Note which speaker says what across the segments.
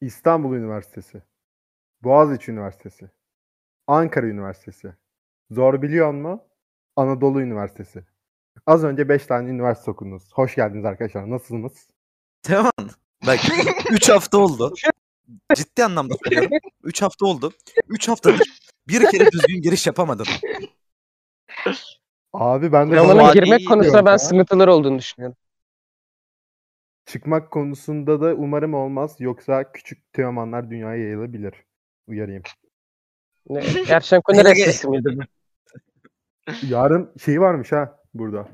Speaker 1: İstanbul Üniversitesi, Boğaziçi Üniversitesi, Ankara Üniversitesi. Zor biliyor mu? Anadolu Üniversitesi. Az önce 5 tane üniversite okudunuz. Hoş geldiniz arkadaşlar. Nasılsınız?
Speaker 2: Teoman bak 3 hafta oldu. Ciddi anlamda söylüyorum. 3 hafta oldu. 3 haftadır bir kere düzgün giriş yapamadın.
Speaker 1: Abi ben de
Speaker 3: Romana
Speaker 1: Bana-
Speaker 3: girmek konusunda ben
Speaker 1: ya.
Speaker 3: sıkıntılar olduğunu düşünüyorum.
Speaker 1: çıkmak konusunda da umarım olmaz. Yoksa küçük teomanlar dünyaya yayılabilir. Uyarayım.
Speaker 3: Ne- Erşenko neresi miydi? bu?
Speaker 1: Yarın şey varmış ha burada.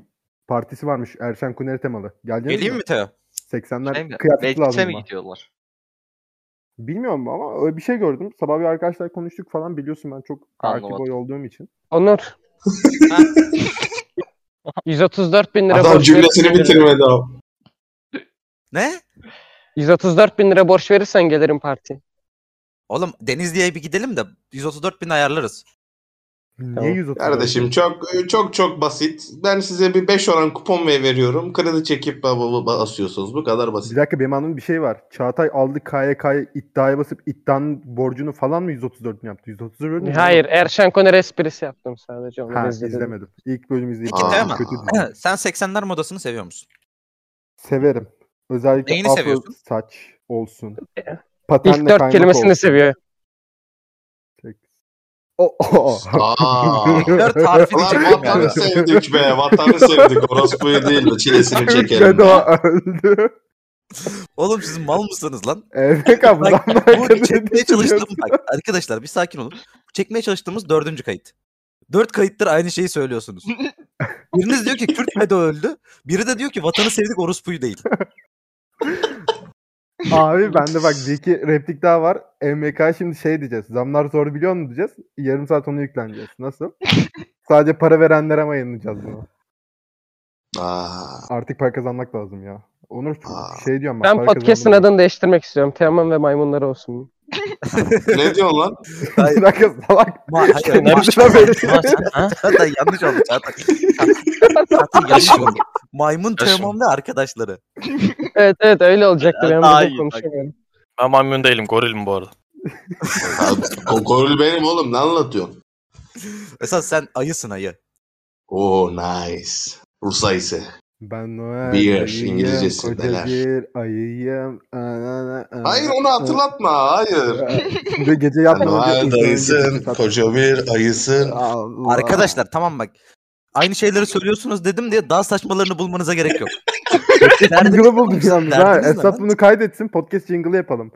Speaker 1: Partisi varmış Erşen Kuneri temalı. Geleceğiz
Speaker 2: Geleyim mi Teo?
Speaker 1: 80'ler
Speaker 4: Şey mi?
Speaker 1: kıyafeti
Speaker 4: Meclise
Speaker 1: lazım.
Speaker 4: mi
Speaker 1: bana.
Speaker 4: gidiyorlar?
Speaker 1: Bilmiyorum ama öyle bir şey gördüm. Sabah bir arkadaşlar konuştuk falan. Biliyorsun ben çok artı
Speaker 4: Anlamadım.
Speaker 1: boy olduğum için.
Speaker 3: Onur. 134 bin lira
Speaker 5: Adam
Speaker 3: borç verirsen
Speaker 5: cümlesini bitirmedi abi.
Speaker 2: Ne?
Speaker 3: 134 bin lira borç verirsen gelirim partiye.
Speaker 2: Oğlum Denizli'ye bir gidelim de 134 bin ayarlarız.
Speaker 1: Niye
Speaker 3: Tamam.
Speaker 1: 130?
Speaker 5: Kardeşim çok çok çok basit. Ben size bir 5 oran kupon ver- veriyorum. Kredi çekip ba- ba- ba- basıyorsunuz. Bu kadar
Speaker 1: Bir
Speaker 5: basit.
Speaker 1: dakika benim anladığım bir şey var. Çağatay aldı KYK'yı iddiaya basıp iddianın borcunu falan mı 134 yaptı? 134 mü?
Speaker 3: Hayır Erşenko neresi esprisi yaptım sadece. Onu
Speaker 1: Ha,
Speaker 3: izledim.
Speaker 1: izlemedim. İlk bölümü izledim.
Speaker 5: Peki, tamam.
Speaker 1: Kötü dizi.
Speaker 2: Sen 80'ler modasını seviyor musun?
Speaker 1: Severim. Özellikle
Speaker 2: Neyini
Speaker 1: afro
Speaker 2: seviyorsun?
Speaker 1: saç olsun.
Speaker 3: İlk
Speaker 1: Patenle
Speaker 3: İlk dört
Speaker 1: kaymak
Speaker 3: kelimesini
Speaker 1: olsun.
Speaker 3: seviyor.
Speaker 1: O, o, o.
Speaker 5: Aa.
Speaker 2: Dört harfi
Speaker 5: Ulan
Speaker 2: diyecektim yani.
Speaker 5: vatanı sevdik be. Vatanı sevdik. Orospu'yu değil mi? Çilesini çekelim.
Speaker 1: Bedo öldü.
Speaker 2: Oğlum siz mal mısınız lan?
Speaker 1: Evet abi.
Speaker 2: Bak,
Speaker 1: adamlar
Speaker 2: Bu
Speaker 1: kadını
Speaker 2: çekmeye
Speaker 1: düşünüyor.
Speaker 2: çalıştığımız... Bak arkadaşlar bir sakin olun. Çekmeye çalıştığımız dördüncü kayıt. Dört kayıttır aynı şeyi söylüyorsunuz. Biriniz diyor ki Kürt FETÖ öldü. Biri de diyor ki vatanı sevdik orospuyu değil.
Speaker 1: Abi bende bak bir iki replik daha var. MK şimdi şey diyeceğiz. Zamlar zor biliyor musun diyeceğiz. Yarım saat onu yükleneceğiz. Nasıl? Sadece para verenlere ama yayınlayacağız bunu.
Speaker 5: Aa.
Speaker 1: Artık para kazanmak lazım ya. Onur
Speaker 5: Aa.
Speaker 1: şey diyorum bak.
Speaker 3: Ben
Speaker 1: para
Speaker 3: podcast'ın
Speaker 1: kazandım.
Speaker 3: adını değiştirmek istiyorum. Teoman ve maymunlar olsun.
Speaker 5: Ne diyorsun lan?
Speaker 2: Hayır.
Speaker 1: Bir dakika salak.
Speaker 2: Ma hayır,
Speaker 3: Ne
Speaker 2: ma-
Speaker 3: biçim
Speaker 2: Ma- Çağatay yanlış oldu Çağatay. Çağatay yanlış oldu. Maymun
Speaker 6: Yaşım.
Speaker 2: Teoman ve arkadaşları.
Speaker 3: evet evet öyle olacaktı. Ben
Speaker 6: Daha
Speaker 3: bugün
Speaker 6: iyi,
Speaker 3: konuşamıyorum.
Speaker 6: Ben maymun değilim gorilim bu arada.
Speaker 5: Kokorul benim oğlum. Ne anlatıyorsun?
Speaker 2: Esas sen ayısın ayı.
Speaker 5: Oo Oh, nice. Rusa ise.
Speaker 1: Ben Noel.
Speaker 5: Beer,
Speaker 1: ayıyım,
Speaker 5: İngilizcesi
Speaker 1: koca
Speaker 5: neler?
Speaker 1: bir ayıyım. Anana, anana.
Speaker 5: Hayır onu hatırlatma. Hayır.
Speaker 1: Ve Ee, gece yapmadan önce
Speaker 5: Noel
Speaker 1: insanın
Speaker 5: dayısın.
Speaker 1: gecesi tatlı.
Speaker 5: Koca bir ayısın.
Speaker 1: Allah.
Speaker 2: Arkadaşlar tamam bak. Aynı şeyleri söylüyorsunuz dedim diye daha saçmalarını bulmanıza gerek yok.
Speaker 1: Jingle'ı buldum yalnız ha.
Speaker 2: Derdiniz ne
Speaker 1: Esat
Speaker 2: lan?
Speaker 1: bunu kaydetsin. Podcast jingle'ı yapalım.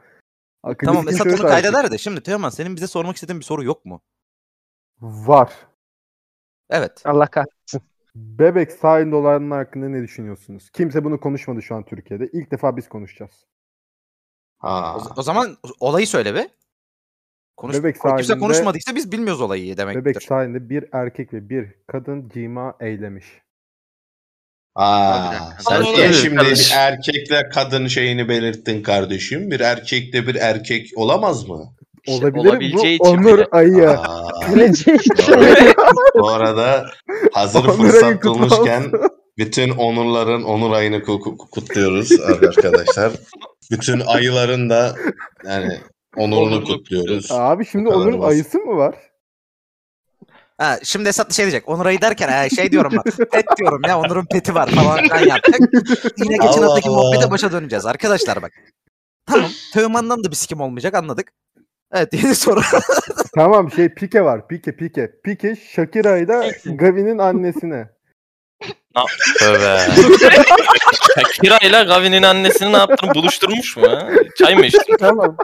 Speaker 1: Akıllı
Speaker 2: Tamam
Speaker 1: fikir
Speaker 2: Esat bunu
Speaker 1: söyle şey artık.
Speaker 2: kaydeder de şimdi Teoman senin bize sormak istediğin bir soru yok mu?
Speaker 1: Var.
Speaker 2: Evet.
Speaker 3: Allah kahretsin.
Speaker 1: Bebek sahil dolarının hakkında ne düşünüyorsunuz? Kimse bunu konuşmadı şu an Türkiye'de. İlk defa biz konuşacağız.
Speaker 5: Aa.
Speaker 2: O, o zaman olayı söyle be. Konuş,
Speaker 1: Bebek
Speaker 2: kimse
Speaker 1: sahilinde-
Speaker 2: konuşmadıysa biz bilmiyoruz olayı demektir.
Speaker 1: Bebek sahilinde bir erkek ve bir kadın cima eylemiş.
Speaker 5: Aa, sen
Speaker 6: Sen
Speaker 5: niye
Speaker 6: söyle
Speaker 5: şimdi
Speaker 6: kardeşim.
Speaker 5: bir erkekle kadın şeyini belirttin kardeşim? Bir erkekle bir erkek olamaz mı?
Speaker 4: İşte
Speaker 1: Olabilir mi?
Speaker 4: olabileceği
Speaker 1: Bu
Speaker 4: için
Speaker 1: Onur
Speaker 4: bile.
Speaker 1: ayı.
Speaker 5: Aa,
Speaker 3: Geleceği
Speaker 5: bu arada hazır
Speaker 1: Onur ayı
Speaker 5: fırsat
Speaker 1: kutlu
Speaker 5: bulmuşken
Speaker 1: olsun.
Speaker 5: bütün onurların onur ayını ku- ku- kutluyoruz arkadaşlar. Bütün ayıların da yani onurunu
Speaker 4: Onurunu
Speaker 5: kutluyoruz.
Speaker 1: Abi şimdi
Speaker 5: Bu kadar
Speaker 1: Onur'un
Speaker 5: basit.
Speaker 1: ayısı mı var?
Speaker 2: Ha, şimdi Esat şey diyecek. Onur ayı derken ha, şey diyorum ben. Pet diyorum ya Onur'un peti var falan filan yaptık. Yine geçen
Speaker 5: Allah
Speaker 2: haftaki
Speaker 5: Allah.
Speaker 2: muhabbete başa döneceğiz arkadaşlar bak. Tamam. Teoman'dan da bir sikim olmayacak anladık. Evet yeni soru.
Speaker 1: tamam şey Pike var. Pike Pike. Pike Shakira'yı da Gavi'nin annesine.
Speaker 6: Tövbe. Kira ile Gavin'in annesini ne yaptın? Buluşturmuş mu? ha? Çay mı içtin?
Speaker 3: Tamam.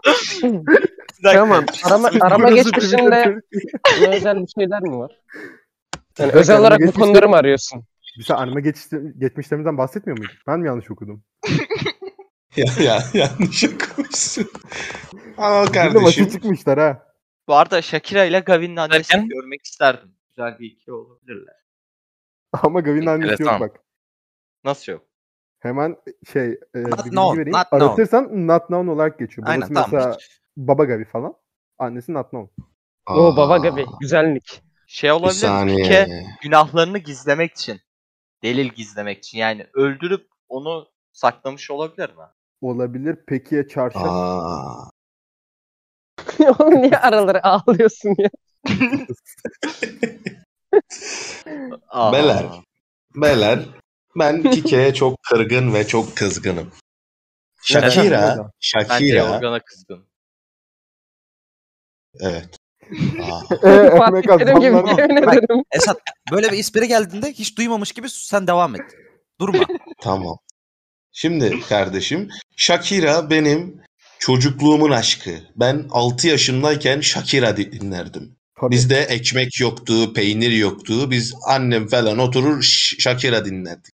Speaker 3: tamam. Arama, arama geçmişinde özel bir şeyler mi var? Yani
Speaker 1: Bir dakika,
Speaker 3: özel olarak bu
Speaker 1: geçmişte-
Speaker 3: konuları mı arıyorsun?
Speaker 1: Bir saniye anime geçti- geçmişlerimizden bahsetmiyor muyduk? Ben mi yanlış okudum?
Speaker 5: ya, ya, yanlış okumuşsun. Ama
Speaker 1: Bir de maçı
Speaker 5: kardeşim
Speaker 1: çıkmışlar ha.
Speaker 4: Bu arada Shakira ile Gavin'in annesini
Speaker 6: Derken?
Speaker 4: görmek isterdim. Güzel bir ikili olabilirler.
Speaker 1: Ama Gavi'nin annesi yok
Speaker 6: Enteresan.
Speaker 1: bak.
Speaker 4: Nasıl yok?
Speaker 1: Hemen şey e, bir bilgi
Speaker 2: known,
Speaker 1: vereyim.
Speaker 2: not known.
Speaker 1: Aratırsan not known olarak geçiyor. Babası
Speaker 2: Aynen tamam.
Speaker 1: mesela Baba Gavi falan. Annesi not known.
Speaker 3: Oo baba
Speaker 5: Aa,
Speaker 3: gibi. Güzellik.
Speaker 4: Şey
Speaker 5: Bir
Speaker 4: olabilir mi?
Speaker 5: saniye.
Speaker 4: Pike günahlarını gizlemek için. Delil gizlemek için. Yani öldürüp onu saklamış olabilir mi?
Speaker 1: Olabilir. Peki'ye çarşaf.
Speaker 5: Aa.
Speaker 3: Oğlum niye araları ağlıyorsun ya?
Speaker 4: Aa.
Speaker 5: Beler. Beyler ben Kike'ye çok kırgın ve çok kızgınım. Shakira,
Speaker 4: Bence
Speaker 5: Shakira,
Speaker 4: Yorgan'a kızgın.
Speaker 5: evet. Aa,
Speaker 1: Ee, ekmek
Speaker 3: Fatih Terim gibi
Speaker 1: adamları-
Speaker 3: yemin ederim.
Speaker 2: Esat böyle bir ispiri geldiğinde hiç duymamış gibi sen devam et. Durma.
Speaker 5: tamam. Şimdi kardeşim, Shakira benim çocukluğumun aşkı. Ben 6 yaşımdayken Shakira dinlerdim.
Speaker 1: Tabii.
Speaker 5: Bizde ekmek yoktu, peynir yoktu. Biz annem falan oturur Ş- Shakira dinlerdik.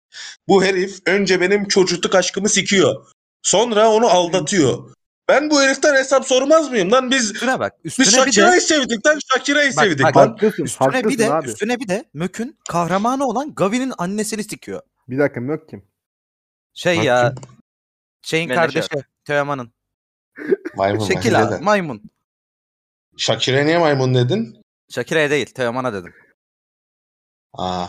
Speaker 5: Bu herif önce benim çocukluk aşkımı sikiyor. Sonra onu aldatıyor. Ben bu heriften hesap sormaz mıyım lan? Biz
Speaker 2: Üstüne bak. Üstüne
Speaker 5: Biz
Speaker 2: bir de
Speaker 5: Shakira'yı sevdik lan Shakira'yı
Speaker 2: Bak,
Speaker 5: sevdik
Speaker 2: bak,
Speaker 5: lan.
Speaker 1: Haklısın,
Speaker 2: üstüne bir
Speaker 1: haklısın
Speaker 2: de
Speaker 1: abi.
Speaker 2: üstüne bir de Mök'ün kahramanı olan Gavin'in annesini sikiyor.
Speaker 1: Bir dakika Mök kim?
Speaker 2: Şey
Speaker 5: Bak
Speaker 2: ya şeyin
Speaker 4: Menajer.
Speaker 2: kardeşi Teoman'ın.
Speaker 5: Maymun
Speaker 2: Şekil abi, maymun.
Speaker 5: Shakira niye maymun dedin?
Speaker 2: Şakira'ya değil Teoman'a dedim.
Speaker 5: Aa.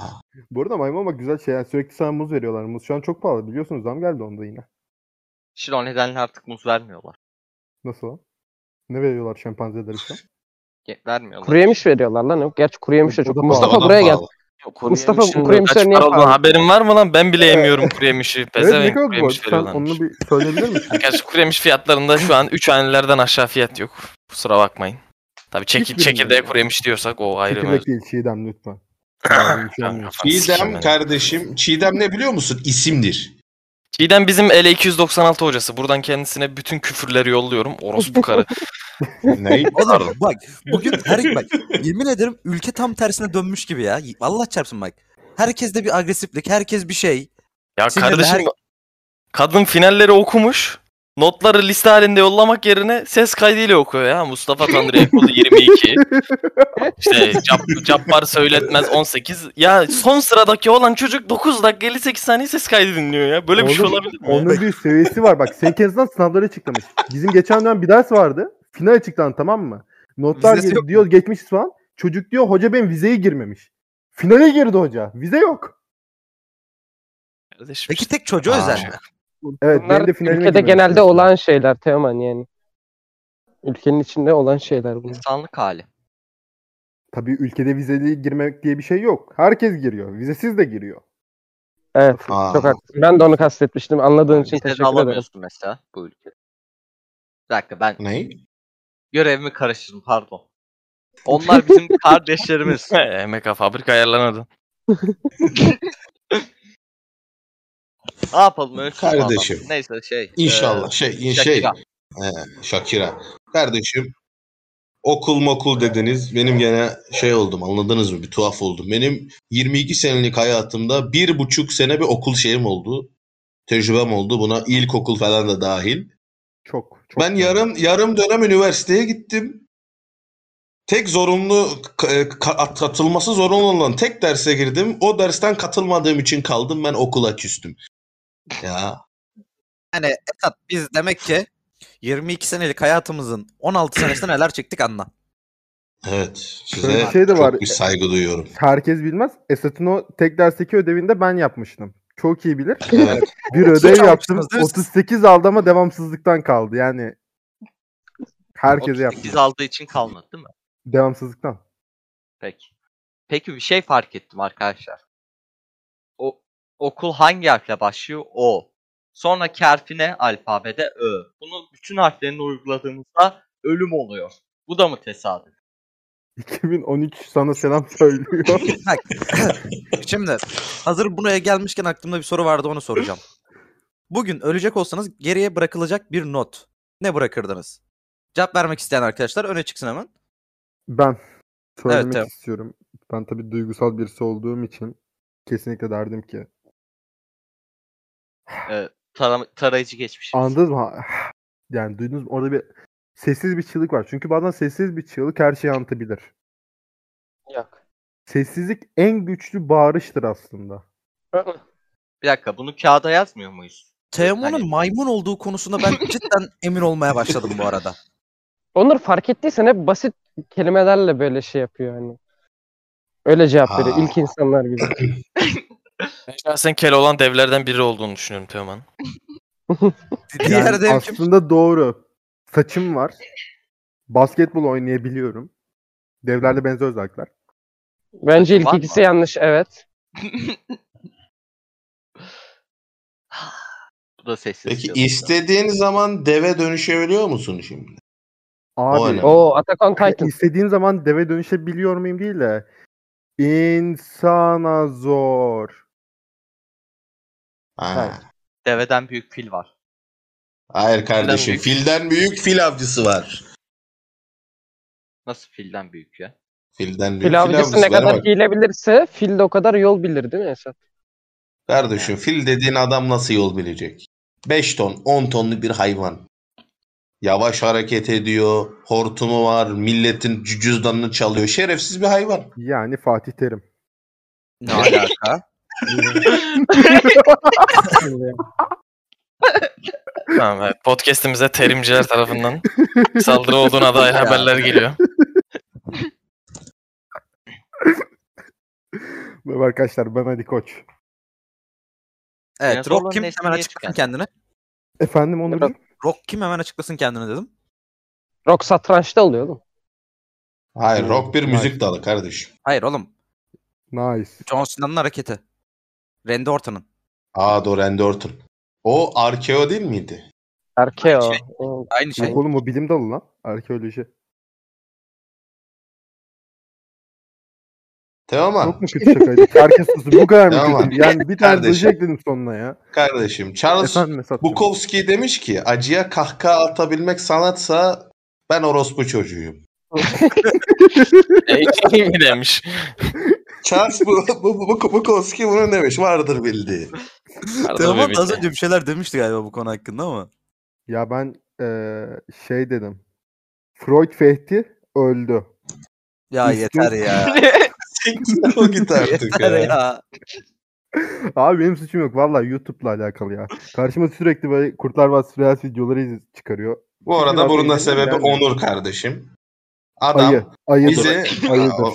Speaker 1: Bu arada maymun ama güzel şey. Yani sürekli sana muz veriyorlar. Muz şu an çok pahalı biliyorsunuz. Zam geldi onda yine.
Speaker 4: Şimdi o nedenle artık muz vermiyorlar.
Speaker 1: Nasıl? o? Ne veriyorlar şempanzeler işte?
Speaker 4: Ge- Vermiyorlar.
Speaker 3: Kuru yemiş veriyorlar lan. Yok. Gerçi kuru yemiş de çok.
Speaker 1: O da
Speaker 3: Mustafa
Speaker 5: Havadan
Speaker 3: buraya gel.
Speaker 5: pahalı.
Speaker 3: Mustafa
Speaker 4: yemişin
Speaker 3: kuru
Speaker 6: Kaç
Speaker 3: yemişler niye
Speaker 6: para olduğunu
Speaker 3: pahalı?
Speaker 6: haberin var mı lan? Ben bile yemiyorum kuru yemişi.
Speaker 1: evet ne
Speaker 6: Pezevenk
Speaker 1: kadar
Speaker 6: kuru
Speaker 1: bu?
Speaker 6: yemiş
Speaker 1: Sen
Speaker 6: veriyorlarmış.
Speaker 1: onu bir söyleyebilir misin?
Speaker 6: Gerçi kuru yemiş fiyatlarında şu an 3 hanelerden aşağı fiyat yok. Kusura bakmayın. Tabii çekil,
Speaker 1: Hiçbirinde
Speaker 6: çekirdeğe
Speaker 1: yok.
Speaker 6: kuru yemiş diyorsak o ayrı mevzu.
Speaker 1: Çekirdek değil çiğdem lütfen. şey Yani şu an-
Speaker 6: Kafanı sikeyim
Speaker 5: Çiğdem
Speaker 6: ben.
Speaker 5: kardeşim. Çiğdem ne biliyor musun? İsimdir.
Speaker 6: Çiğdem bizim L296 hocası. Buradan kendisine bütün küfürleri yolluyorum. Orospu karı.
Speaker 5: ne?
Speaker 2: Oğlum bak bugün her bak yemin ederim ülke tam tersine dönmüş gibi ya. Allah çarpsın bak. Herkeste bir agresiflik, herkes bir şey.
Speaker 6: Ya
Speaker 2: Sinirli
Speaker 6: kardeşim
Speaker 2: her-
Speaker 6: kadın finalleri okumuş. Notları liste halinde yollamak yerine ses kaydıyla okuyor ya. Mustafa Tanrı Ekolu 22. işte Cap- Cappar Söyletmez 18. Ya son sıradaki olan çocuk 9 dakika 58 saniye ses kaydı dinliyor ya. Böyle bir şey
Speaker 1: Oğlum,
Speaker 6: olabilir mi? ya?
Speaker 1: Onun bir seviyesi var. Bak sen kez lan sınavları açıklamış. Bizim geçen dönem bir ders vardı. Final açıklan tamam mı? Notlar
Speaker 2: Vizesi
Speaker 1: gir-
Speaker 2: yok mu?
Speaker 1: diyor geçmiş falan. Çocuk diyor hoca benim vizeye girmemiş. Finale girdi hoca. Vize yok.
Speaker 6: Kardeşim
Speaker 2: Peki
Speaker 6: işte.
Speaker 2: tek çocuğa
Speaker 5: Aa.
Speaker 2: özel mi?
Speaker 1: Evet
Speaker 3: Bunlar
Speaker 1: benim de finaline
Speaker 3: ülkede
Speaker 1: girmemiş.
Speaker 3: genelde olan şeyler Teoman yani. Ülkenin içinde olan şeyler bunlar.
Speaker 4: İnsanlık hali.
Speaker 1: Tabii ülkede vizeli girmek diye bir şey yok. Herkes giriyor. Vizesiz de giriyor.
Speaker 3: Evet.
Speaker 5: Aa.
Speaker 3: Çok haklısın. Ben de onu kastetmiştim. Anladığın için
Speaker 4: Vize de
Speaker 3: teşekkür ederim.
Speaker 4: alamıyorsun mesela bu ülkede. Bir dakika ben
Speaker 5: Ne?
Speaker 4: görevimi karıştırdım pardon. Onlar bizim kardeşlerimiz.
Speaker 6: He, MK fabrika ayarlanadı.
Speaker 4: ne yapalım ölçüsü bu adam.
Speaker 5: Kardeşim.
Speaker 4: Neyse şey.
Speaker 5: İnşallah.
Speaker 2: Ee,
Speaker 4: e,
Speaker 5: şey, şey.
Speaker 4: Shakira.
Speaker 5: He, Shakira. Kardeşim okul mokul dediniz. Benim gene şey oldum anladınız mı? Bir tuhaf oldum. Benim 22 senelik hayatımda bir buçuk sene bir okul şeyim oldu. Tecrübem oldu. Buna ilkokul falan da dahil.
Speaker 1: Çok. çok
Speaker 5: Ben yarım yarım dönem üniversiteye gittim. Tek zorunlu k- e, ka- katılması zorunlu olan tek derse girdim. O dersten katılmadığım için kaldım. Ben okula küstüm. Ya
Speaker 2: Yani Esat biz demek ki 22 senelik hayatımızın 16 senesinde neler çektik anla.
Speaker 5: evet.
Speaker 1: Şöyle
Speaker 5: Size
Speaker 1: bir şey de
Speaker 5: çok
Speaker 1: var.
Speaker 5: bir saygı duyuyorum.
Speaker 1: Herkes bilmez. Esat'ın o tek dersteki ödevinde ben yapmıştım. Çok iyi bilir.
Speaker 5: Evet.
Speaker 1: Bir
Speaker 2: Otuz
Speaker 1: ödev
Speaker 2: üç
Speaker 1: yaptım.
Speaker 2: almışsınız değil mi siz?
Speaker 1: 38 aldı ama devamsızlıktan kaldı. Yani herkese yaptım.
Speaker 4: 38 aldığı için kalmadı değil mi?
Speaker 1: Devamsızlıktan.
Speaker 4: Peki. Peki bir şey fark ettim arkadaşlar. O okul hangi harfle başlıyor? O. Sonraki harfi ne? Alfabede Ö. Bunu bütün harflerini uyguladığımızda ölüm oluyor. Bu da mı tesadüf?
Speaker 1: 2013 sana selam söylüyor.
Speaker 2: Bak şimdi hazır buraya gelmişken aklımda bir soru vardı onu soracağım. Bugün ölecek olsanız geriye bırakılacak bir not. Ne bırakırdınız? Cevap vermek isteyen arkadaşlar öne çıksın hemen.
Speaker 1: ben söylemek
Speaker 2: Evet, tamam.
Speaker 1: istiyorum. Ben tabii duygusal birisi olduğum için kesinlikle derdim ki.
Speaker 4: Tara- tarayıcı geçmiş.
Speaker 1: Anladınız mı? Yani duydunuz mu? Orada bir sessiz bir çığlık var. Çünkü bazen sessiz bir çığlık her şeyi anlatabilir.
Speaker 3: Yok.
Speaker 1: Sessizlik en güçlü bağırıştır aslında.
Speaker 4: Bir dakika bunu kağıda yazmıyor muyuz?
Speaker 2: Teoman'ın
Speaker 4: Hani-
Speaker 2: maymun olduğu konusunda ben cidden emin olmaya başladım bu arada.
Speaker 3: Onur fark ettiysen hep basit kelimelerle böyle şey yapıyor hani. Öyle cevap
Speaker 5: Aa.
Speaker 3: veriyor ilk insanlar gibi.
Speaker 6: Ben şahsen kel olan devlerden biri olduğunu düşünüyorum Teoman.
Speaker 2: Diğer
Speaker 1: Yani
Speaker 2: dev kim?
Speaker 1: aslında doğru. Saçım var. Basketbol oynayabiliyorum. Devlerle benzer özellikler.
Speaker 3: Bence ilk
Speaker 4: Var mı?
Speaker 3: ikisi yanlış evet.
Speaker 4: Bu da sessiz.
Speaker 5: Peki
Speaker 4: yazıldı.
Speaker 5: istediğin zaman deve dönüşebiliyor musun şimdi?
Speaker 1: Abi
Speaker 5: önemli.
Speaker 3: Oo Attack on
Speaker 1: Ya
Speaker 3: Titan.
Speaker 1: İstediğim zaman deve dönüşebiliyor muyum değil de insana zor.
Speaker 5: Ha.
Speaker 1: Hayır.
Speaker 4: Deveden büyük fil var.
Speaker 5: Hayır kardeşim.
Speaker 6: büyük.
Speaker 5: Filden büyük fil avcısı var.
Speaker 4: Nasıl filden büyük ya?
Speaker 5: Filden büyük
Speaker 3: Fil avcısı ne
Speaker 5: avcıları
Speaker 3: kadar
Speaker 5: bak.
Speaker 3: hilebilirse fil de o kadar yol bilir değil mi Esat?
Speaker 5: Kardeşim fil dediğin adam nasıl yol bilecek? 5 ton, 10 tonlu bir hayvan. Yavaş hareket ediyor, hortumu var, milletin cü- cüzdanını çalıyor. Şerefsiz bir hayvan.
Speaker 1: Yani Fatih Terim.
Speaker 2: Ne alaka?
Speaker 6: Tamam, evet. Podcast'imize terimciler tarafından saldırı olduğuna dair haberler geliyor.
Speaker 1: Merhaba arkadaşlar ben Ali Koç.
Speaker 2: Evet.
Speaker 4: Dinozorların
Speaker 2: Rock kim?
Speaker 4: nesli
Speaker 2: Hemen
Speaker 4: niye
Speaker 2: açıklasın
Speaker 4: tükendi?
Speaker 2: kendini.
Speaker 1: Efendim Onur
Speaker 3: Merhaba.
Speaker 2: Rock kim? Hemen açıklasın kendini dedim.
Speaker 3: Rock satrançta oluyor oğlum.
Speaker 5: Hayır, rock bir
Speaker 1: Hayır.
Speaker 5: müzik dalı kardeşim.
Speaker 2: Hayır oğlum.
Speaker 1: nice.
Speaker 2: John Cena'nın hareketi. Randy Orton'un.
Speaker 5: Aa doğru Randy Orton. O arkeo değil miydi?
Speaker 3: Arkeo.
Speaker 2: Şey-
Speaker 3: Oo.
Speaker 2: Aynı şey.
Speaker 1: Yok oğlum o bilim dalı lan. Arkeoloji.
Speaker 5: Tamam mı?
Speaker 1: Çok mu kötü şakaydı? Herkes sustu. Bu kadar mı
Speaker 5: Tamam.
Speaker 1: kötü? Yani bir tane
Speaker 5: Kardeşim.
Speaker 1: diyecek ekledim sonuna ya.
Speaker 5: Kardeşim Charles
Speaker 1: Efendim Esat.
Speaker 5: Bukowski demiş ki acıya kahkaha atabilmek sanatsa ben orospu çocuğuyum.
Speaker 6: Eee, E, demiş.
Speaker 5: Charles Bu- Bu- Bu- Bu- Bukowski bunu demiş vardır bildiği.
Speaker 2: Teoman da az önce bir şey. şeyler demişti galiba bu konu hakkında ama.
Speaker 1: Ya ben eee, şey dedim. Freud Fethi öldü.
Speaker 2: Ya
Speaker 1: Üstün-
Speaker 2: yeter ya.
Speaker 5: o git artık
Speaker 2: yeter
Speaker 5: ya.
Speaker 2: ya.
Speaker 1: Abi benim suçum yok. Valla YouTube'la alakalı ya. Karşıma sürekli böyle Kurtlar Vadisi Reels videoları iz- çıkıyor.
Speaker 5: Bu arada bunun da sebebi
Speaker 1: Yani-
Speaker 5: Onur kardeşim.
Speaker 1: Ayı.
Speaker 5: Adam
Speaker 1: Ayıdır.
Speaker 5: bize
Speaker 1: Ayıdır.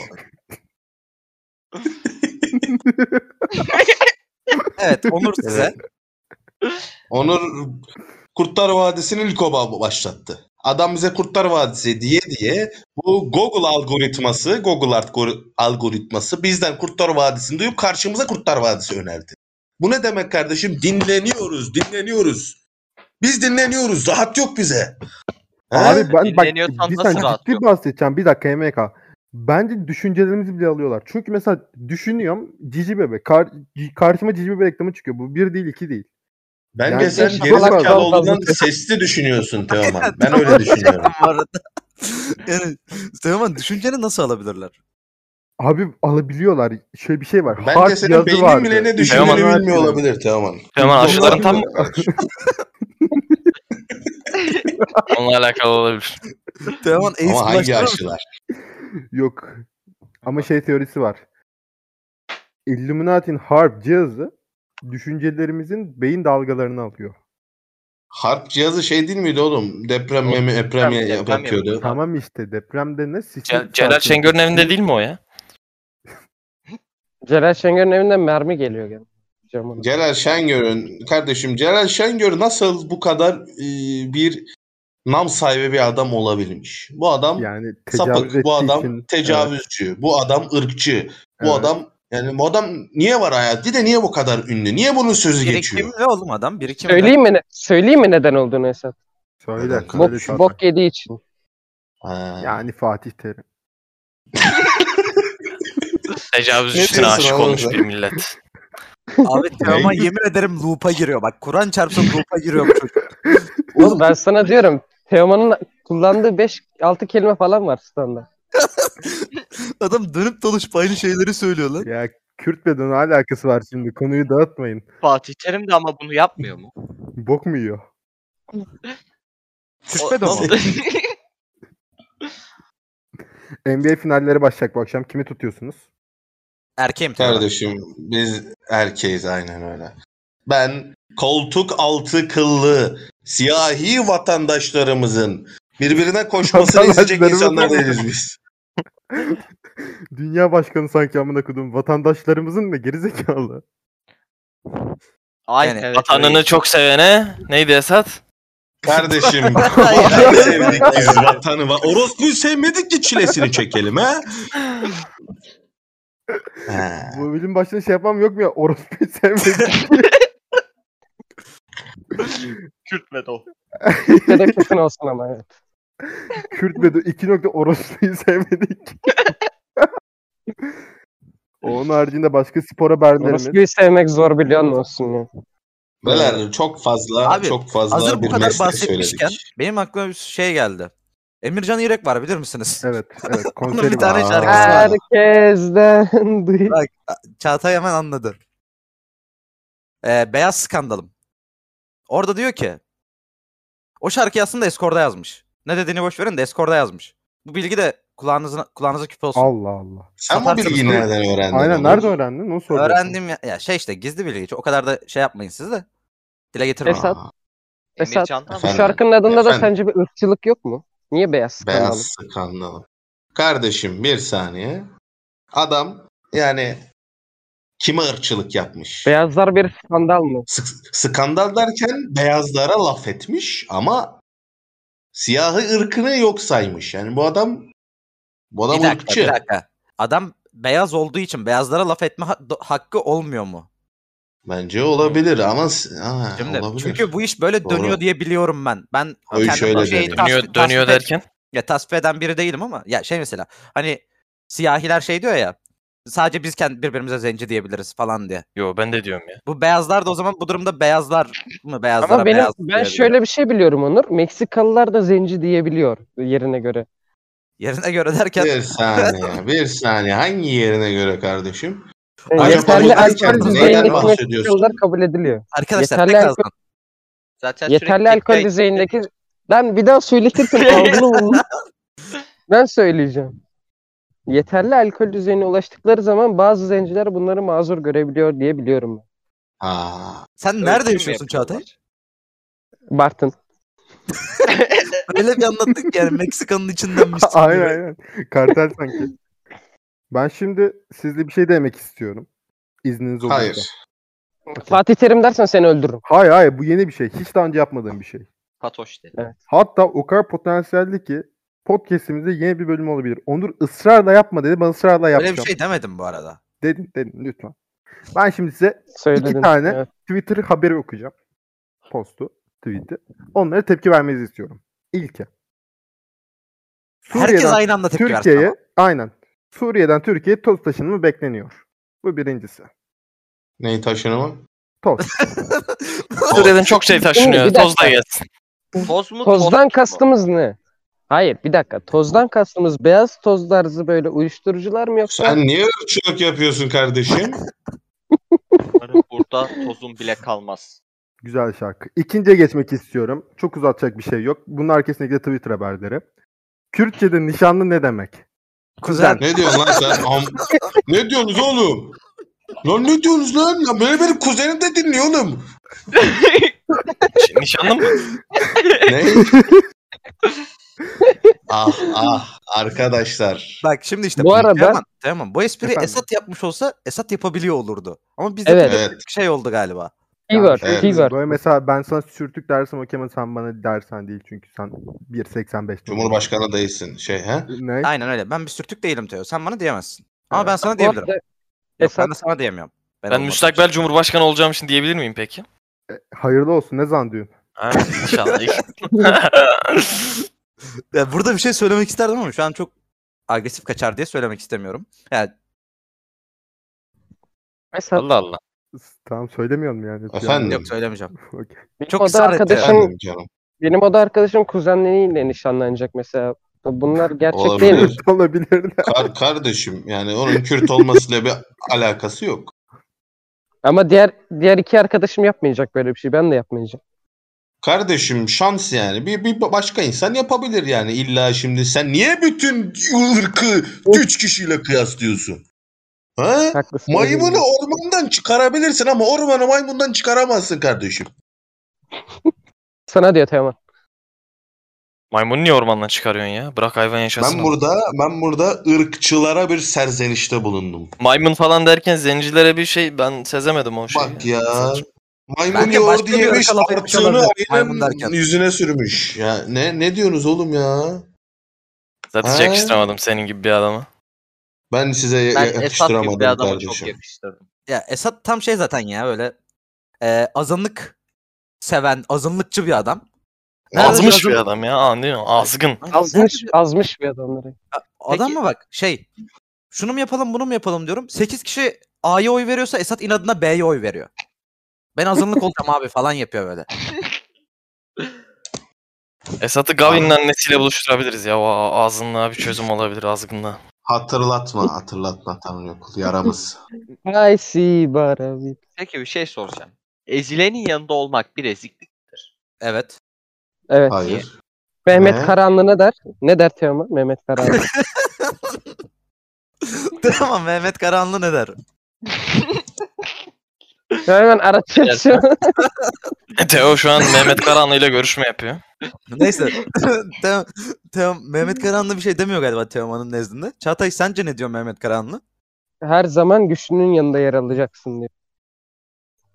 Speaker 2: Evet Onur size.
Speaker 5: Onur Kurtlar Vadisi'nin ilk oba başlattı. Adam bize Kurtlar Vadisi diye diye bu Google algoritması, Google algori- algoritması bizden Kurtlar Vadisi'ni duyup karşımıza Kurtlar Vadisi önerdi. Bu ne demek kardeşim? Dinleniyoruz, dinleniyoruz. Biz dinleniyoruz, rahat yok bize. He?
Speaker 1: Abi ben bak
Speaker 4: Dinleniyorsan
Speaker 1: bir
Speaker 4: nasıl
Speaker 1: tane
Speaker 4: rahat
Speaker 1: ciddi
Speaker 4: yok?
Speaker 1: bahsedeceğim. Bir dakika MK. Bence düşüncelerimizi bile alıyorlar. Çünkü mesela düşünüyorum cici bebek. Kar- ci- karşıma cici bebek reklamı çıkıyor. Bu bir değil iki değil.
Speaker 5: Bence
Speaker 1: Yani
Speaker 5: sen
Speaker 1: çok
Speaker 5: geri
Speaker 1: fazla-
Speaker 5: zekalı olduğundan sesli düşünüyorsun Teoman. Ben öyle düşünüyorum.
Speaker 2: bu arada. yani Teoman düşünceni nasıl alabilirler?
Speaker 1: Abi alabiliyorlar. Şöyle bir şey var.
Speaker 5: Bence
Speaker 1: Harf
Speaker 5: senin
Speaker 1: yazı
Speaker 5: beynin
Speaker 1: vardı. Şey
Speaker 5: bile ne
Speaker 6: Teoman-
Speaker 5: düşündüğünü bilmiyor olabilir Teoman.
Speaker 6: Teoman aşıların tam
Speaker 1: Olabilir.
Speaker 6: onunla alakalı olabilir.
Speaker 2: Teoman ace
Speaker 5: Ama hangi
Speaker 2: bulaştırır mı?
Speaker 5: aşılar?
Speaker 1: Yok. Ama şey teorisi var. Illuminati'nin harp cihazı düşüncelerimizin beyin dalgalarını alıyor.
Speaker 5: Harp cihazı şey değil miydi oğlum? Deprem memi deprem
Speaker 4: deprem
Speaker 5: yapıyordu.
Speaker 4: yapıyordu.
Speaker 1: Tamam işte depremde ne sismik
Speaker 6: Ce- Celal
Speaker 1: sarsıntı.
Speaker 6: Şengör'ün evinde değil mi o ya?
Speaker 3: Celal Şengör'ün evinden mermi geliyor gene. Camına.
Speaker 5: Celal Şengör'ün kardeşim Celal Şengör nasıl bu kadar e, bir nam sahibi bir adam olabilmiş? Bu adam
Speaker 1: yani tecavüz
Speaker 5: sapık,
Speaker 1: ettiği
Speaker 5: bu adam
Speaker 1: için-
Speaker 5: tecavüzcü, bu adam ırkçı, bu
Speaker 1: Evet.
Speaker 5: adam yani bu adam niye var hayatta de niye bu kadar ünlü? Niye bunun sözü geçiyor?
Speaker 2: Birikimli oğlum adam. Birikimli.
Speaker 3: Söyleyeyim mi, ne- söyleyeyim mi neden olduğunu Esat?
Speaker 1: Söyle.
Speaker 5: Bok-
Speaker 1: söyle
Speaker 3: Bok,
Speaker 1: zaten.
Speaker 3: bok yediği için.
Speaker 5: Ha.
Speaker 1: Yani Fatih Terim.
Speaker 6: Tecavüz
Speaker 5: Ne
Speaker 6: üstüne
Speaker 5: diyorsun
Speaker 6: aşık
Speaker 5: oğlum
Speaker 6: olmuş
Speaker 5: sen?
Speaker 6: bir millet.
Speaker 2: Abi Teoman yemin ederim loop'a giriyor. Bak Kur'an çarpsın loop'a giriyor bu çocuk.
Speaker 3: Oğlum ben sana diyorum. Teoman'ın kullandığı 5-6 kelime falan var standa.
Speaker 2: Adam dönüp dolaşıp aynı şeyleri söylüyor lan.
Speaker 1: Ya Kürt beden ne alakası var şimdi? Konuyu dağıtmayın.
Speaker 4: Fatih Terim de ama bunu yapmıyor mu?
Speaker 1: Bok mu yiyor?
Speaker 2: Küçme de
Speaker 4: O-
Speaker 2: ama.
Speaker 1: NBA finalleri başlayacak bu akşam. Kimi tutuyorsunuz?
Speaker 2: Erkeğim Teoman.
Speaker 5: Kardeşim biz erkeğiz aynen öyle. Ben koltuk altı kıllı siyahi vatandaşlarımızın birbirine koşmasını isteyecek
Speaker 1: Vatandaşlarımız-
Speaker 5: insanlar değiliz biz.
Speaker 1: Dünya başkanı sanki amına kodum. Vatandaşlarımızın mı gerizekalı?
Speaker 4: Ay,
Speaker 2: Yani
Speaker 4: evet,
Speaker 6: Vatanını
Speaker 4: öyle.
Speaker 6: çok sevene neydi Esat?
Speaker 5: Kardeşim vatanı sevdik biz vatanı. va- Orospu'yu sevmedik ki çilesini çekelim ha. Ha.
Speaker 1: Bu bilim başına şey yapmam yok mu ya? Orospu'yu sevmedim.
Speaker 4: Kürt ve dol.
Speaker 3: Bir de kesin olsun ama evet.
Speaker 1: Kürt ve do- iki nokta orospu'yu sevmedik. Onun haricinde başka spor haberlerimiz.
Speaker 3: Orospu'yu sevmek zor biliyor musun ya?
Speaker 5: Beyler çok fazla
Speaker 2: Abi,
Speaker 5: çok fazla
Speaker 2: Hazır bu
Speaker 5: bir
Speaker 2: kadar
Speaker 5: mesle
Speaker 2: bahsetmişken
Speaker 5: söyledik.
Speaker 2: benim aklıma bir şey geldi. Emircan İrek var bilir misiniz?
Speaker 1: Evet, evet.
Speaker 2: Onun bir
Speaker 1: Konseri var.
Speaker 2: tane
Speaker 5: var.
Speaker 2: şarkısı var.
Speaker 3: Herkesten duy.
Speaker 2: Bak. Çağatay hemen anladı. Ee, Beyaz Skandalım. Orada diyor ki o şarkıyı aslında Eskor'da yazmış. Ne dediğini boş verin de Eskor'da yazmış. Bu bilgi de kulağınıza, kulağınıza küpe olsun.
Speaker 1: Allah Allah.
Speaker 5: Sen bu bilgiyi
Speaker 2: Satarsanız-
Speaker 5: nereden öğrendin?
Speaker 1: Aynen
Speaker 5: oğlum?
Speaker 1: nerede öğrendin? Onu soruyorsun.
Speaker 2: Öğrendim ya, ya şey işte gizli bilgi. hiç O kadar da şey yapmayın siz de. Dile getirmeyin.
Speaker 3: Esat. Esat.
Speaker 4: Emircan'dan
Speaker 3: Bu
Speaker 5: Efendim?
Speaker 3: şarkının adında da
Speaker 5: Efendim?
Speaker 3: sence bir ırkçılık yok mu? Niye beyaz skandal?
Speaker 5: Beyaz skandal. Kardeşim bir saniye. Adam yani kime ırkçılık yapmış?
Speaker 3: Beyazlar bir skandal mı?
Speaker 5: Sk- skandal derken beyazlara laf etmiş ama siyahı ırkını yok saymış. Yani bu adam bu adam
Speaker 2: bir dakika,
Speaker 5: ırkçı.
Speaker 2: bir dakika. Adam beyaz olduğu için beyazlara laf etme ha- do- hakkı olmuyor mu?
Speaker 5: Bence olabilir ama s- ha,
Speaker 2: Şimdi,
Speaker 5: olabilir.
Speaker 2: çünkü bu iş böyle
Speaker 5: Doğru.
Speaker 2: dönüyor diye biliyorum ben. Ben
Speaker 5: O iş
Speaker 2: kendim
Speaker 5: öyle
Speaker 2: bu şeyi
Speaker 5: dönüyor.
Speaker 2: tasvip-
Speaker 6: Dönüyor, dönüyor
Speaker 2: tasvip et-
Speaker 6: derken.
Speaker 2: Ya tasvip eden biri değilim ama ya şey mesela hani siyahiler şey diyor ya sadece biz kendi birbirimize zenci diyebiliriz falan diye.
Speaker 6: Yo ben de diyorum ya.
Speaker 2: Bu beyazlar da o zaman bu durumda beyazlar mı beyazlara
Speaker 3: Ama benim
Speaker 2: beyaz
Speaker 3: ben
Speaker 2: diyebiliyor.
Speaker 3: şöyle bir şey biliyorum Onur. Meksikalılar da zenci diyebiliyor yerine göre.
Speaker 2: yerine göre derken
Speaker 5: Bir saniye, bir saniye. Hangi yerine göre kardeşim?
Speaker 3: Yani
Speaker 5: Acaba
Speaker 3: yeterli
Speaker 5: bu derken
Speaker 3: alkol
Speaker 5: neyden
Speaker 3: düzeyindeki
Speaker 5: bahsediyorsun?
Speaker 3: Meksikalılar kabul ediliyor.
Speaker 2: arkadaşlar
Speaker 3: yeterli
Speaker 2: pek
Speaker 3: alkol-
Speaker 2: azdan.
Speaker 4: Zaten
Speaker 3: Yeterli
Speaker 4: sürekli
Speaker 3: alkol
Speaker 4: dikkat-
Speaker 3: düzeyindeki... Lan bir daha söyletirsin. ağzını bulun. ben söyleyeceğim. Yeterli alkol düzeyine ulaştıkları zaman bazı zenciler bunları mazur görebiliyor diye biliyorum ben.
Speaker 5: Aa,
Speaker 2: Sen
Speaker 4: Ölçüm
Speaker 5: şey
Speaker 2: nerede
Speaker 4: mü
Speaker 2: yaşıyorsun Çağatay?
Speaker 4: yapıyorlar?
Speaker 3: Bartın.
Speaker 2: Öyle bir anlattın ki yani Meksika'nın içindenmiş.
Speaker 1: aynen aynen. Kartel sanki. Ben şimdi sizle bir şey demek istiyorum. İzniniz olursa.
Speaker 5: hayır.
Speaker 3: Fatih Terim dersen seni öldürürüm.
Speaker 1: Hayır hayır bu yeni bir şey. Hiç daha önce yapmadığım bir şey.
Speaker 4: Patoş dedi.
Speaker 1: Hatta o kadar potansiyelli ki podcastimizde yeni bir bölüm olabilir. Onur ısrarla yapma dedi. Ben ısrarla
Speaker 2: Öyle
Speaker 1: yapacağım.
Speaker 2: bir şey demedim bu arada.
Speaker 1: Dedin dedin lütfen. Ben şimdi size
Speaker 3: Söyledin.
Speaker 1: tane.
Speaker 3: Evet.
Speaker 1: Twitter haberi okuyacağım. Postu, tweet'i. Onlara tepki vermenizi istiyorum. İlki.
Speaker 2: Herkes
Speaker 1: Suriye'den-
Speaker 2: aynı anda tepki versin
Speaker 1: Türkiye'ye
Speaker 2: ama.
Speaker 1: aynen. Suriye'den Türkiye'ye toz taşınımı bekleniyor. Bu birincisi.
Speaker 5: Neyi taşınımı?
Speaker 1: Toz.
Speaker 6: Suriye'den çok şey taşınıyor.
Speaker 3: Bir dakika.
Speaker 6: Toz da gelsin.
Speaker 4: Toz mu?
Speaker 3: Tozdan
Speaker 4: tost mu?
Speaker 3: kastımız ne? Hayır bir dakika. Tozdan kastımız beyaz toz tarzı böyle uyuşturucular mı yoksa?
Speaker 5: Sen niye ırkçılık yapıyorsun kardeşim?
Speaker 4: Umarım Hani Burada tozun bile kalmaz.
Speaker 1: Güzel şarkı. İkinciye geçmek istiyorum. Çok uzatacak bir şey yok. Bunun arkasındaki de Twitter haberleri. Kürtçe'de nişanlı ne demek?
Speaker 2: Kuzen.
Speaker 5: Ne diyorsun lan sen? Am- ne diyorsunuz oğlum? Lan ne diyorsunuz lan? Ya böyle benim kuzenim de dinliyor oğlum.
Speaker 6: Nişanlı mı?
Speaker 5: Ne? ah ah arkadaşlar.
Speaker 2: Bak şimdi işte
Speaker 3: Bu
Speaker 2: bu
Speaker 3: arada-
Speaker 2: Teoman, Teoman, bu espriyi
Speaker 1: Efendim?
Speaker 2: Esat yapmış olsa Esat yapabiliyor olurdu. Ama bizde
Speaker 3: Evet.
Speaker 5: Evet.
Speaker 2: şey oldu galiba.
Speaker 3: Keyword.
Speaker 5: Evet.
Speaker 3: Keyword.
Speaker 1: Böyle mesela ben sana sürtük dersem o kemen sen bana dersen değil çünkü sen 1.85.
Speaker 5: Cumhurbaşkanı değilsin şey he?
Speaker 1: Ne? E,
Speaker 2: Aynen öyle. Ben bir sürtük değelim Teo. Sen bana diyemezsin. Ama
Speaker 1: Evet.
Speaker 2: ben sana
Speaker 3: Bu
Speaker 2: diyebilirim.
Speaker 3: arada
Speaker 2: Yok,
Speaker 3: Esat-
Speaker 2: ben de sana diyemiyorum.
Speaker 6: Ben
Speaker 2: olmadım.
Speaker 6: müstakbel cumhurbaşkanı olacağım için diyebilir miyim peki?
Speaker 1: Hayırlı olsun ne zannediyorsun?
Speaker 6: Ha, inşallah.
Speaker 2: Ya burada bir şey söylemek isterdim ama şu an çok agresif kaçar diye söylemek istemiyorum. Yani
Speaker 3: Esat.
Speaker 6: Allah Allah.
Speaker 1: Tamam söylemiyorum yani.
Speaker 5: Efendim?
Speaker 2: yok söylemeyeceğim.
Speaker 1: Okey.
Speaker 3: Benim
Speaker 2: Çok
Speaker 3: oda
Speaker 2: ısrar etti.
Speaker 3: arkadaşım,
Speaker 5: Efendim canım.
Speaker 3: benim oda arkadaşım kuzenleriyle nişanlanacak mesela. Bunlar gerçek
Speaker 5: Olabilir.
Speaker 3: değil mi?
Speaker 1: Olabilir de.
Speaker 5: Kar- kardeşim yani onun Kürt olmasıyla bir alakası yok.
Speaker 3: Ama diğer diğer iki arkadaşım yapmayacak böyle bir şey. Ben de yapmayacağım.
Speaker 5: Kardeşim şans yani. Bir, bir başka insan yapabilir yani. İlla şimdi sen niye bütün ırkı üç kişiyle kıyaslıyorsun? Ha?
Speaker 3: Haklısın.
Speaker 5: Maymunu ormandan çıkarabilirsin ama ormanı maymundan çıkaramazsın kardeşim.
Speaker 3: Sana diyor Teoman.
Speaker 6: Maymunu niye ormandan çıkarıyorsun ya? Bırak hayvan yaşasın.
Speaker 5: Ben burada ben burada ırkçılara bir serzenişte bulundum.
Speaker 6: Maymun falan derken zencilere bir şey ben sezemedim o şeyi.
Speaker 5: Bak ya.
Speaker 6: Saçma.
Speaker 5: Maymun
Speaker 2: Bence
Speaker 5: yoğurdu
Speaker 2: başka bir
Speaker 5: yemiş,
Speaker 2: ırka laf etmiş
Speaker 5: altını
Speaker 2: olabilir, maymun derken.
Speaker 5: ayının yüzüne sürmüş. Ya ne ne diyorsunuz oğlum ya?
Speaker 6: Zaten
Speaker 5: Ha.
Speaker 6: yakıştıramadım senin gibi bir adama.
Speaker 5: Ben size ya-
Speaker 4: Ben Esat gibi
Speaker 5: yakıştıramadım
Speaker 4: bir adama çok
Speaker 5: kardeşim.
Speaker 4: yakıştırdım.
Speaker 2: Ya Esat tam şey zaten ya böyle e, azınlık seven, azınlıkçı bir adam. Nerede
Speaker 6: Azmış
Speaker 2: bir
Speaker 6: bir
Speaker 2: azın-
Speaker 6: adam ya. Aa, değil mi? Azgın.
Speaker 3: Azmış, azmış bir adamları.
Speaker 2: Adam
Speaker 4: Peki.
Speaker 2: mı bak şey şunu mu yapalım bunu mu yapalım diyorum. 8 kişi A'ya oy veriyorsa Esat inadına B'ye oy veriyor. Ben azınlık olacağım abi falan yapıyor böyle.
Speaker 6: Esat'ı Gavin'in annesiyle buluşturabiliriz ya. O a- azınlığa bir çözüm olabilir azgınlığa.
Speaker 5: Hatırlatma, hatırlatma Tanrı okul yaramız.
Speaker 3: I see Barabi.
Speaker 4: Peki bir şey soracağım. Ezilenin yanında olmak bir eziklik.
Speaker 2: Evet.
Speaker 3: Evet.
Speaker 5: Hayır.
Speaker 3: Mehmet
Speaker 5: Ne?
Speaker 3: Karahanlı ne der? Ne der Teoman? Mehmet Karahanlı.
Speaker 2: tamam Mehmet Karahanlı ne der?
Speaker 3: Hemen aratacağız şu an.
Speaker 6: E, Teo şu an Mehmet Karahanlı ile görüşme yapıyor.
Speaker 2: Neyse. Te- Te- Mehmet Karahanlı bir şey demiyor galiba Teoman'ın nezdinde. Çağatay sence ne diyor Mehmet Karahanlı?
Speaker 3: Her zaman güçlünün yanında yer alacaksın diyor.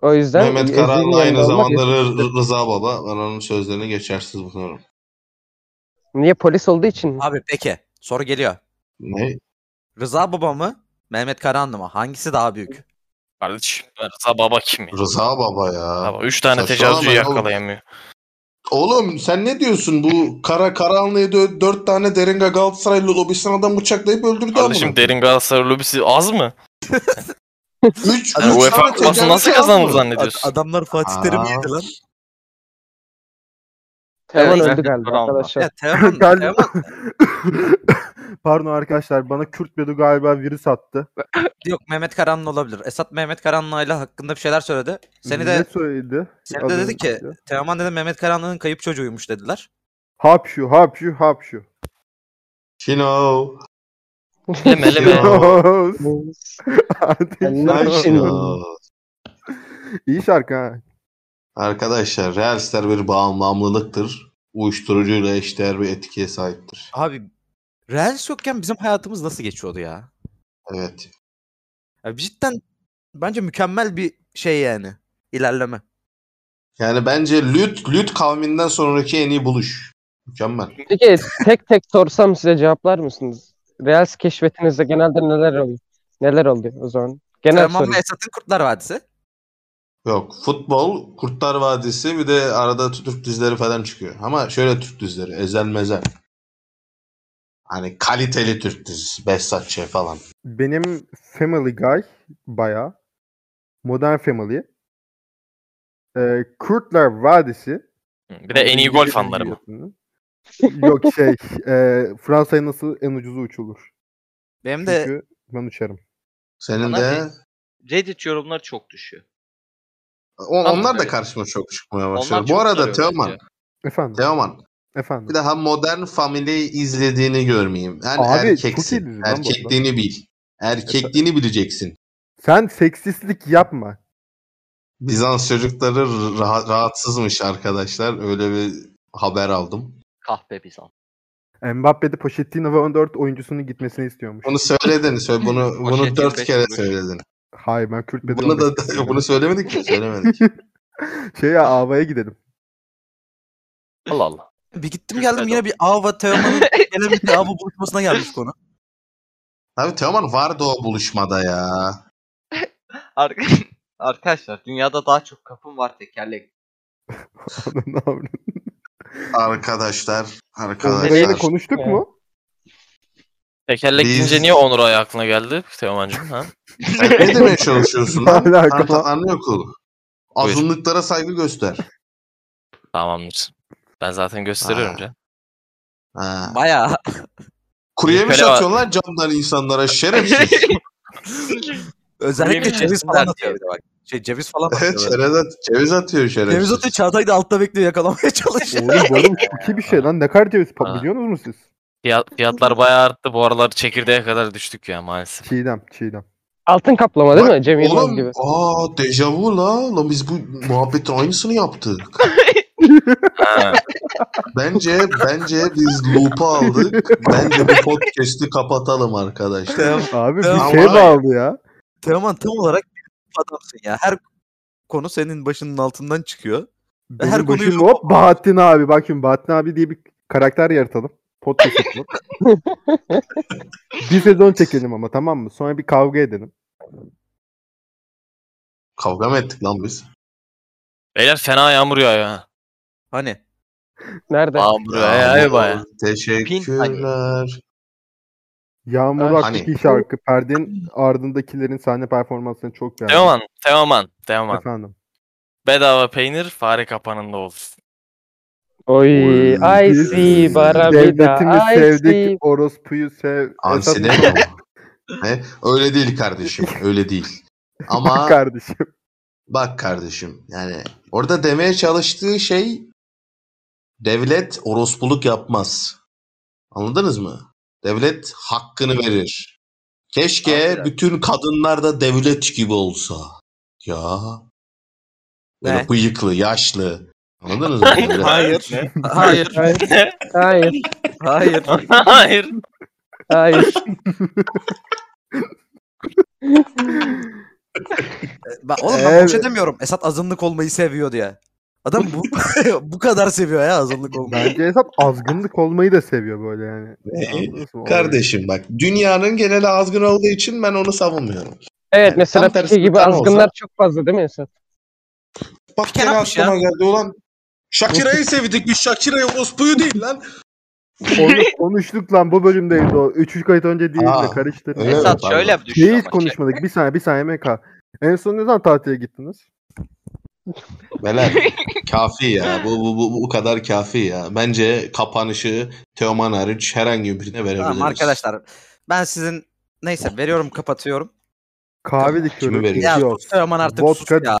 Speaker 3: O yüzden
Speaker 5: Mehmet
Speaker 3: ezilin
Speaker 5: Karan
Speaker 3: yanında
Speaker 5: aynı
Speaker 3: olmak
Speaker 5: zamanda
Speaker 3: yok.
Speaker 5: Rı- Rı- Rıza Baba. Ben onun sözlerini geçersiz buluyorum.
Speaker 3: Niye polis olduğu için mi?
Speaker 2: Abi peki. Soru geliyor.
Speaker 5: Ne?
Speaker 2: Rıza Baba mı? Mehmet Karahanlı mı? Hangisi daha büyük?
Speaker 6: Kardeşim Rıza baba kim ya?
Speaker 5: Rıza Baba ya.
Speaker 6: Baba, üç tane
Speaker 5: Saçmalama
Speaker 6: tecavüzcüyü
Speaker 5: ya oğlum.
Speaker 6: yakalayamıyor.
Speaker 5: Oğlum sen ne diyorsun? Bu kara karanlığı dö- dört tane Deringa Galatasaraylı lobistan adam bıçaklayıp öldürdü
Speaker 6: Kardeşim derin Galatasaray lobisi az mı?
Speaker 5: Üç,
Speaker 6: Yani
Speaker 5: üç
Speaker 6: UEFA
Speaker 5: tane
Speaker 6: kupası nasıl
Speaker 5: tecavüzcü
Speaker 6: kazandı
Speaker 5: adam.
Speaker 2: Ad-
Speaker 6: zannediyorsun?
Speaker 2: adamlar Fatih Terim
Speaker 5: Aa.
Speaker 2: yedi lan.
Speaker 3: Teoman
Speaker 4: Evet,
Speaker 3: öldü
Speaker 4: Mehmet
Speaker 3: galiba
Speaker 4: Karahanlı.
Speaker 2: Ya
Speaker 3: arkadaşlar.
Speaker 2: Teoman,
Speaker 1: Galiba.
Speaker 2: Teoman
Speaker 1: Pardon arkadaşlar bana Kürt Bedu galiba virüs attı.
Speaker 2: Yok Mehmet Karanlı olabilir. Esat Mehmet Karanlı'yla hakkında bir şeyler söyledi. Seni
Speaker 1: Ne
Speaker 2: de
Speaker 1: söyledi?
Speaker 2: seni de
Speaker 1: Az
Speaker 2: dedi ki
Speaker 1: önce.
Speaker 2: Teoman dedi Mehmet Karanlı'nın kayıp çocuğuymuş dediler.
Speaker 1: Hap şu hap şu hap şu.
Speaker 5: Şino.
Speaker 6: Leme leme.
Speaker 1: Artık
Speaker 3: Yani
Speaker 1: şarkı-
Speaker 3: Ay, Şino.
Speaker 5: Şino.
Speaker 1: İyi şarkı ha.
Speaker 5: Arkadaşlar realistler bir bağımlılıktır. Uyuşturucuyla eşdeğer bir etkiye sahiptir.
Speaker 2: Abi Reels yokken bizim hayatımız nasıl geçiyordu ya?
Speaker 5: Evet.
Speaker 2: Ya cidden bence mükemmel bir şey yani. ilerleme.
Speaker 5: Yani bence Lüt, Lüt kavminden sonraki en iyi buluş. Mükemmel.
Speaker 3: Peki tek tek sorsam size cevaplar mısınız? Reels keşfetinizde genelde neler oluyor? Neler oluyor o zaman? Genel soru.
Speaker 2: Teoman ve Esat'ın Kurtlar Vadisi.
Speaker 5: Yok. Futbol, Kurtlar Vadisi bir de arada Türk dizileri falan çıkıyor. Ama şöyle Türk dizileri. Ezel mezel. Hani kaliteli Türk dizisi. Behzat Ç. falan.
Speaker 1: Benim Family Guy bayağı. Modern Family. Ee, Kurtlar Vadisi.
Speaker 6: Bir de en iyi gol fanları mı?
Speaker 1: Yok şey e, Fransa'ya nasıl en ucuzu uçulur.
Speaker 2: Benim de
Speaker 1: Çünkü ben uçarım.
Speaker 5: Senin
Speaker 4: Bana
Speaker 5: de...
Speaker 4: Reddit yorumları çok düşüyor.
Speaker 5: O-
Speaker 4: Tamam,
Speaker 5: onlar da
Speaker 4: evet.
Speaker 5: karşıma çok çıkmaya başladı.
Speaker 4: Onlar çok
Speaker 5: Bu arada
Speaker 4: sarıyor
Speaker 5: Teoman,
Speaker 4: bence.
Speaker 1: Efendim.
Speaker 5: Teoman
Speaker 1: Efendim.
Speaker 5: bir daha Modern Family izlediğini görmeyeyim. Yani
Speaker 1: Abi, çok iyi dizi
Speaker 5: erkeksin.
Speaker 1: lan bu arada.
Speaker 5: Erkekliğini bil. Erkekliğini bileceksin.
Speaker 1: Sen seksistlik yapma.
Speaker 5: Bizans çocukları rah- rahatsızmış arkadaşlar. Öyle bir haber aldım.
Speaker 4: Kahpe Bizans.
Speaker 1: Mbappe'de Pochettino ve 14 oyuncusunun gitmesini istiyormuş.
Speaker 5: Bunu söyledin. Söyle bunu bunu
Speaker 4: Poşet
Speaker 5: dört
Speaker 4: yapıyor,
Speaker 5: kere
Speaker 4: çıkmış.
Speaker 5: söyledin.
Speaker 1: Hayır ben Kürt Bedu
Speaker 5: Bunu
Speaker 1: 15
Speaker 5: da
Speaker 1: istiyorum.
Speaker 5: bunu söylemedik mi? Söylemedik.
Speaker 1: Şey ya avaya gidelim.
Speaker 6: Allah Allah.
Speaker 2: bir gittim
Speaker 4: Türk
Speaker 2: geldim yine
Speaker 4: Bedava.
Speaker 2: bir Ava Teoman'ın gene bir Ava buluşmasına gelmiş konu.
Speaker 5: Abi Teoman vardı o buluşmada ya.
Speaker 4: Ar- Arkadaşlar dünyada daha çok kapım var tekerlek.
Speaker 1: Ananı avradını.
Speaker 5: Arkadaşlar,
Speaker 1: Burayı da
Speaker 5: arkadaşlar.
Speaker 1: konuştuk
Speaker 3: Evet.
Speaker 1: mu?
Speaker 6: Tekerlek
Speaker 5: Biz-
Speaker 6: deyince niye Onur Ay aklına geldi Teoman'cığım ha?
Speaker 5: Sen ne demeye çalışıyorsun lan?
Speaker 1: Ne alaka
Speaker 5: Tan-
Speaker 1: lan?
Speaker 5: Tanrı okulu. Azınlıklara saygı göster.
Speaker 6: Tamamdır. Ben zaten gösteriyorum
Speaker 5: Aa.
Speaker 6: canım.
Speaker 5: Ha.
Speaker 2: Bayağı
Speaker 5: Kuru yemiş
Speaker 6: Nikola-
Speaker 5: atıyorsun lan camdan insanlara şerefsiz.
Speaker 2: özellikle
Speaker 4: Yemin
Speaker 2: ceviz
Speaker 4: etsinler
Speaker 2: falan
Speaker 4: diye.
Speaker 2: atıyor bir de bak. Şey ceviz falan
Speaker 5: Evet,
Speaker 2: atıyor. böyle.
Speaker 5: çerez at- ceviz atıyor şerefsiz.
Speaker 2: Ceviz atıyor Çağatay da altta bekliyor yakalamaya
Speaker 5: Şey-
Speaker 2: çalışıyor.
Speaker 1: Oğlum bu arada bu iki bir şey lan. Ne kadar ceviz pa-
Speaker 6: Ha.
Speaker 1: biliyor musunuz siz?
Speaker 6: Fiyat- fiyatlar bayağı arttı. Bu aralar çekirdeğe kadar düştük ya maalesef.
Speaker 1: Çiğdem, Çiğdem.
Speaker 3: Altın kaplama değil mi? Cem Yılmaz
Speaker 5: Oğlum,
Speaker 3: gibi.
Speaker 5: aa dejavu la. Lan biz bu muhabbetin aynısını yaptık.
Speaker 6: Ha.
Speaker 5: Bence bence biz loop'u aldık. Bence bu podcast'i kapatalım arkadaşlar.
Speaker 2: Teoman-
Speaker 1: Abi bir
Speaker 2: Ama-
Speaker 1: şey bağlı ya.
Speaker 2: Teoman tam olarak bir adamsın ya. Her konu senin başının altından çıkıyor.
Speaker 1: Benim
Speaker 2: Her konuyu-
Speaker 1: başım hop Bahattin abi. Bak şimdi Bahattin abi diye bir karakter yaratalım. Podcast yapalım. bir sezon çekelim ama tamam mı? Sonra bir kavga edelim.
Speaker 5: Kavga mı ettik lan biz?
Speaker 6: Beyler fena yağmur yağıyor ya.
Speaker 2: Hani
Speaker 3: Nerede?
Speaker 6: Yağmur yağıyor baya.
Speaker 5: Teşekkürler.
Speaker 1: Yağmur
Speaker 3: Evet.
Speaker 1: Hakkı'ki
Speaker 5: Hani-
Speaker 1: şarkı. Perdenin ardındakilerin sahne performansını çok beğendim.
Speaker 6: Teoman, Teoman, Teoman.
Speaker 1: Efendim.
Speaker 6: Bedava peynir fare kapanında olsun.
Speaker 3: Oy, I
Speaker 1: Biz
Speaker 3: see Barabida.
Speaker 1: Devletimi
Speaker 3: I
Speaker 1: sevdik.
Speaker 3: see.
Speaker 1: Orospu'yu sev.
Speaker 5: Hamsi
Speaker 1: Esas-
Speaker 5: ne? Ne? Öyle değil kardeşim. Öyle değil. Ama
Speaker 1: kardeşim.
Speaker 5: Bak kardeşim yani orada demeye çalıştığı şey devlet orospuluk yapmaz. Anladınız mı? Devlet hakkını verir. Keşke
Speaker 4: Harbiden.
Speaker 5: bütün kadınlar da devlet gibi olsa. Ya. Böyle
Speaker 2: Ne?
Speaker 5: bıyıklı, yaşlı. Anladınız mı? Devlet-
Speaker 2: hayır,
Speaker 3: Hayır. Hayır.
Speaker 2: hayır.
Speaker 6: Hayır.
Speaker 3: Hayır.
Speaker 2: Ben, oğlum ben boş
Speaker 1: Evet.
Speaker 2: edemiyorum. Esat azınlık olmayı seviyor diye. Adam bu bu kadar seviyor ya azınlık olmayı.
Speaker 1: Bence hesap azgınlık olmayı da seviyor böyle yani.
Speaker 5: Ne?
Speaker 1: Anladınız mı?
Speaker 5: Kardeşim bak dünyanın genel azgın olduğu için ben onu savunmuyorum.
Speaker 3: Evet mesela
Speaker 5: Tam tersi
Speaker 3: Pike gibi
Speaker 5: bir tane
Speaker 3: azgınlar
Speaker 5: olsa.
Speaker 3: çok fazla değil mi Esat?
Speaker 5: Bak
Speaker 2: Piken
Speaker 5: gene
Speaker 2: atmış ya.
Speaker 5: aklıma geldi ulan. Shakira'yı sevdik biz Shakira'yı orospuyu değil lan.
Speaker 1: Onu konuştuk lan bu bölümdeydi o. 3 kayıt önce değil de
Speaker 5: Aa,
Speaker 1: karıştı.
Speaker 5: öyle mi?
Speaker 4: Esat
Speaker 5: pardon.
Speaker 4: şöyle bir düşün
Speaker 1: Neyi hiç
Speaker 4: ama şey.
Speaker 1: konuşmadık? Bir saniye bir saniye MK. En son ne zaman tatile gittiniz?
Speaker 5: Belen kafi ya. Bu, bu, bu, bu kadar kafi ya. Bence kapanışı Teoman hariç herhangi birine verebiliriz.
Speaker 2: Tamam arkadaşlar. Ben sizin neyse veriyorum kapatıyorum.
Speaker 1: Kahve
Speaker 5: Kimi
Speaker 1: dikiyorum.
Speaker 5: veriyorsun?
Speaker 2: Ya
Speaker 1: yok.
Speaker 2: sus Teoman artık sus
Speaker 1: Vodka,
Speaker 2: ya.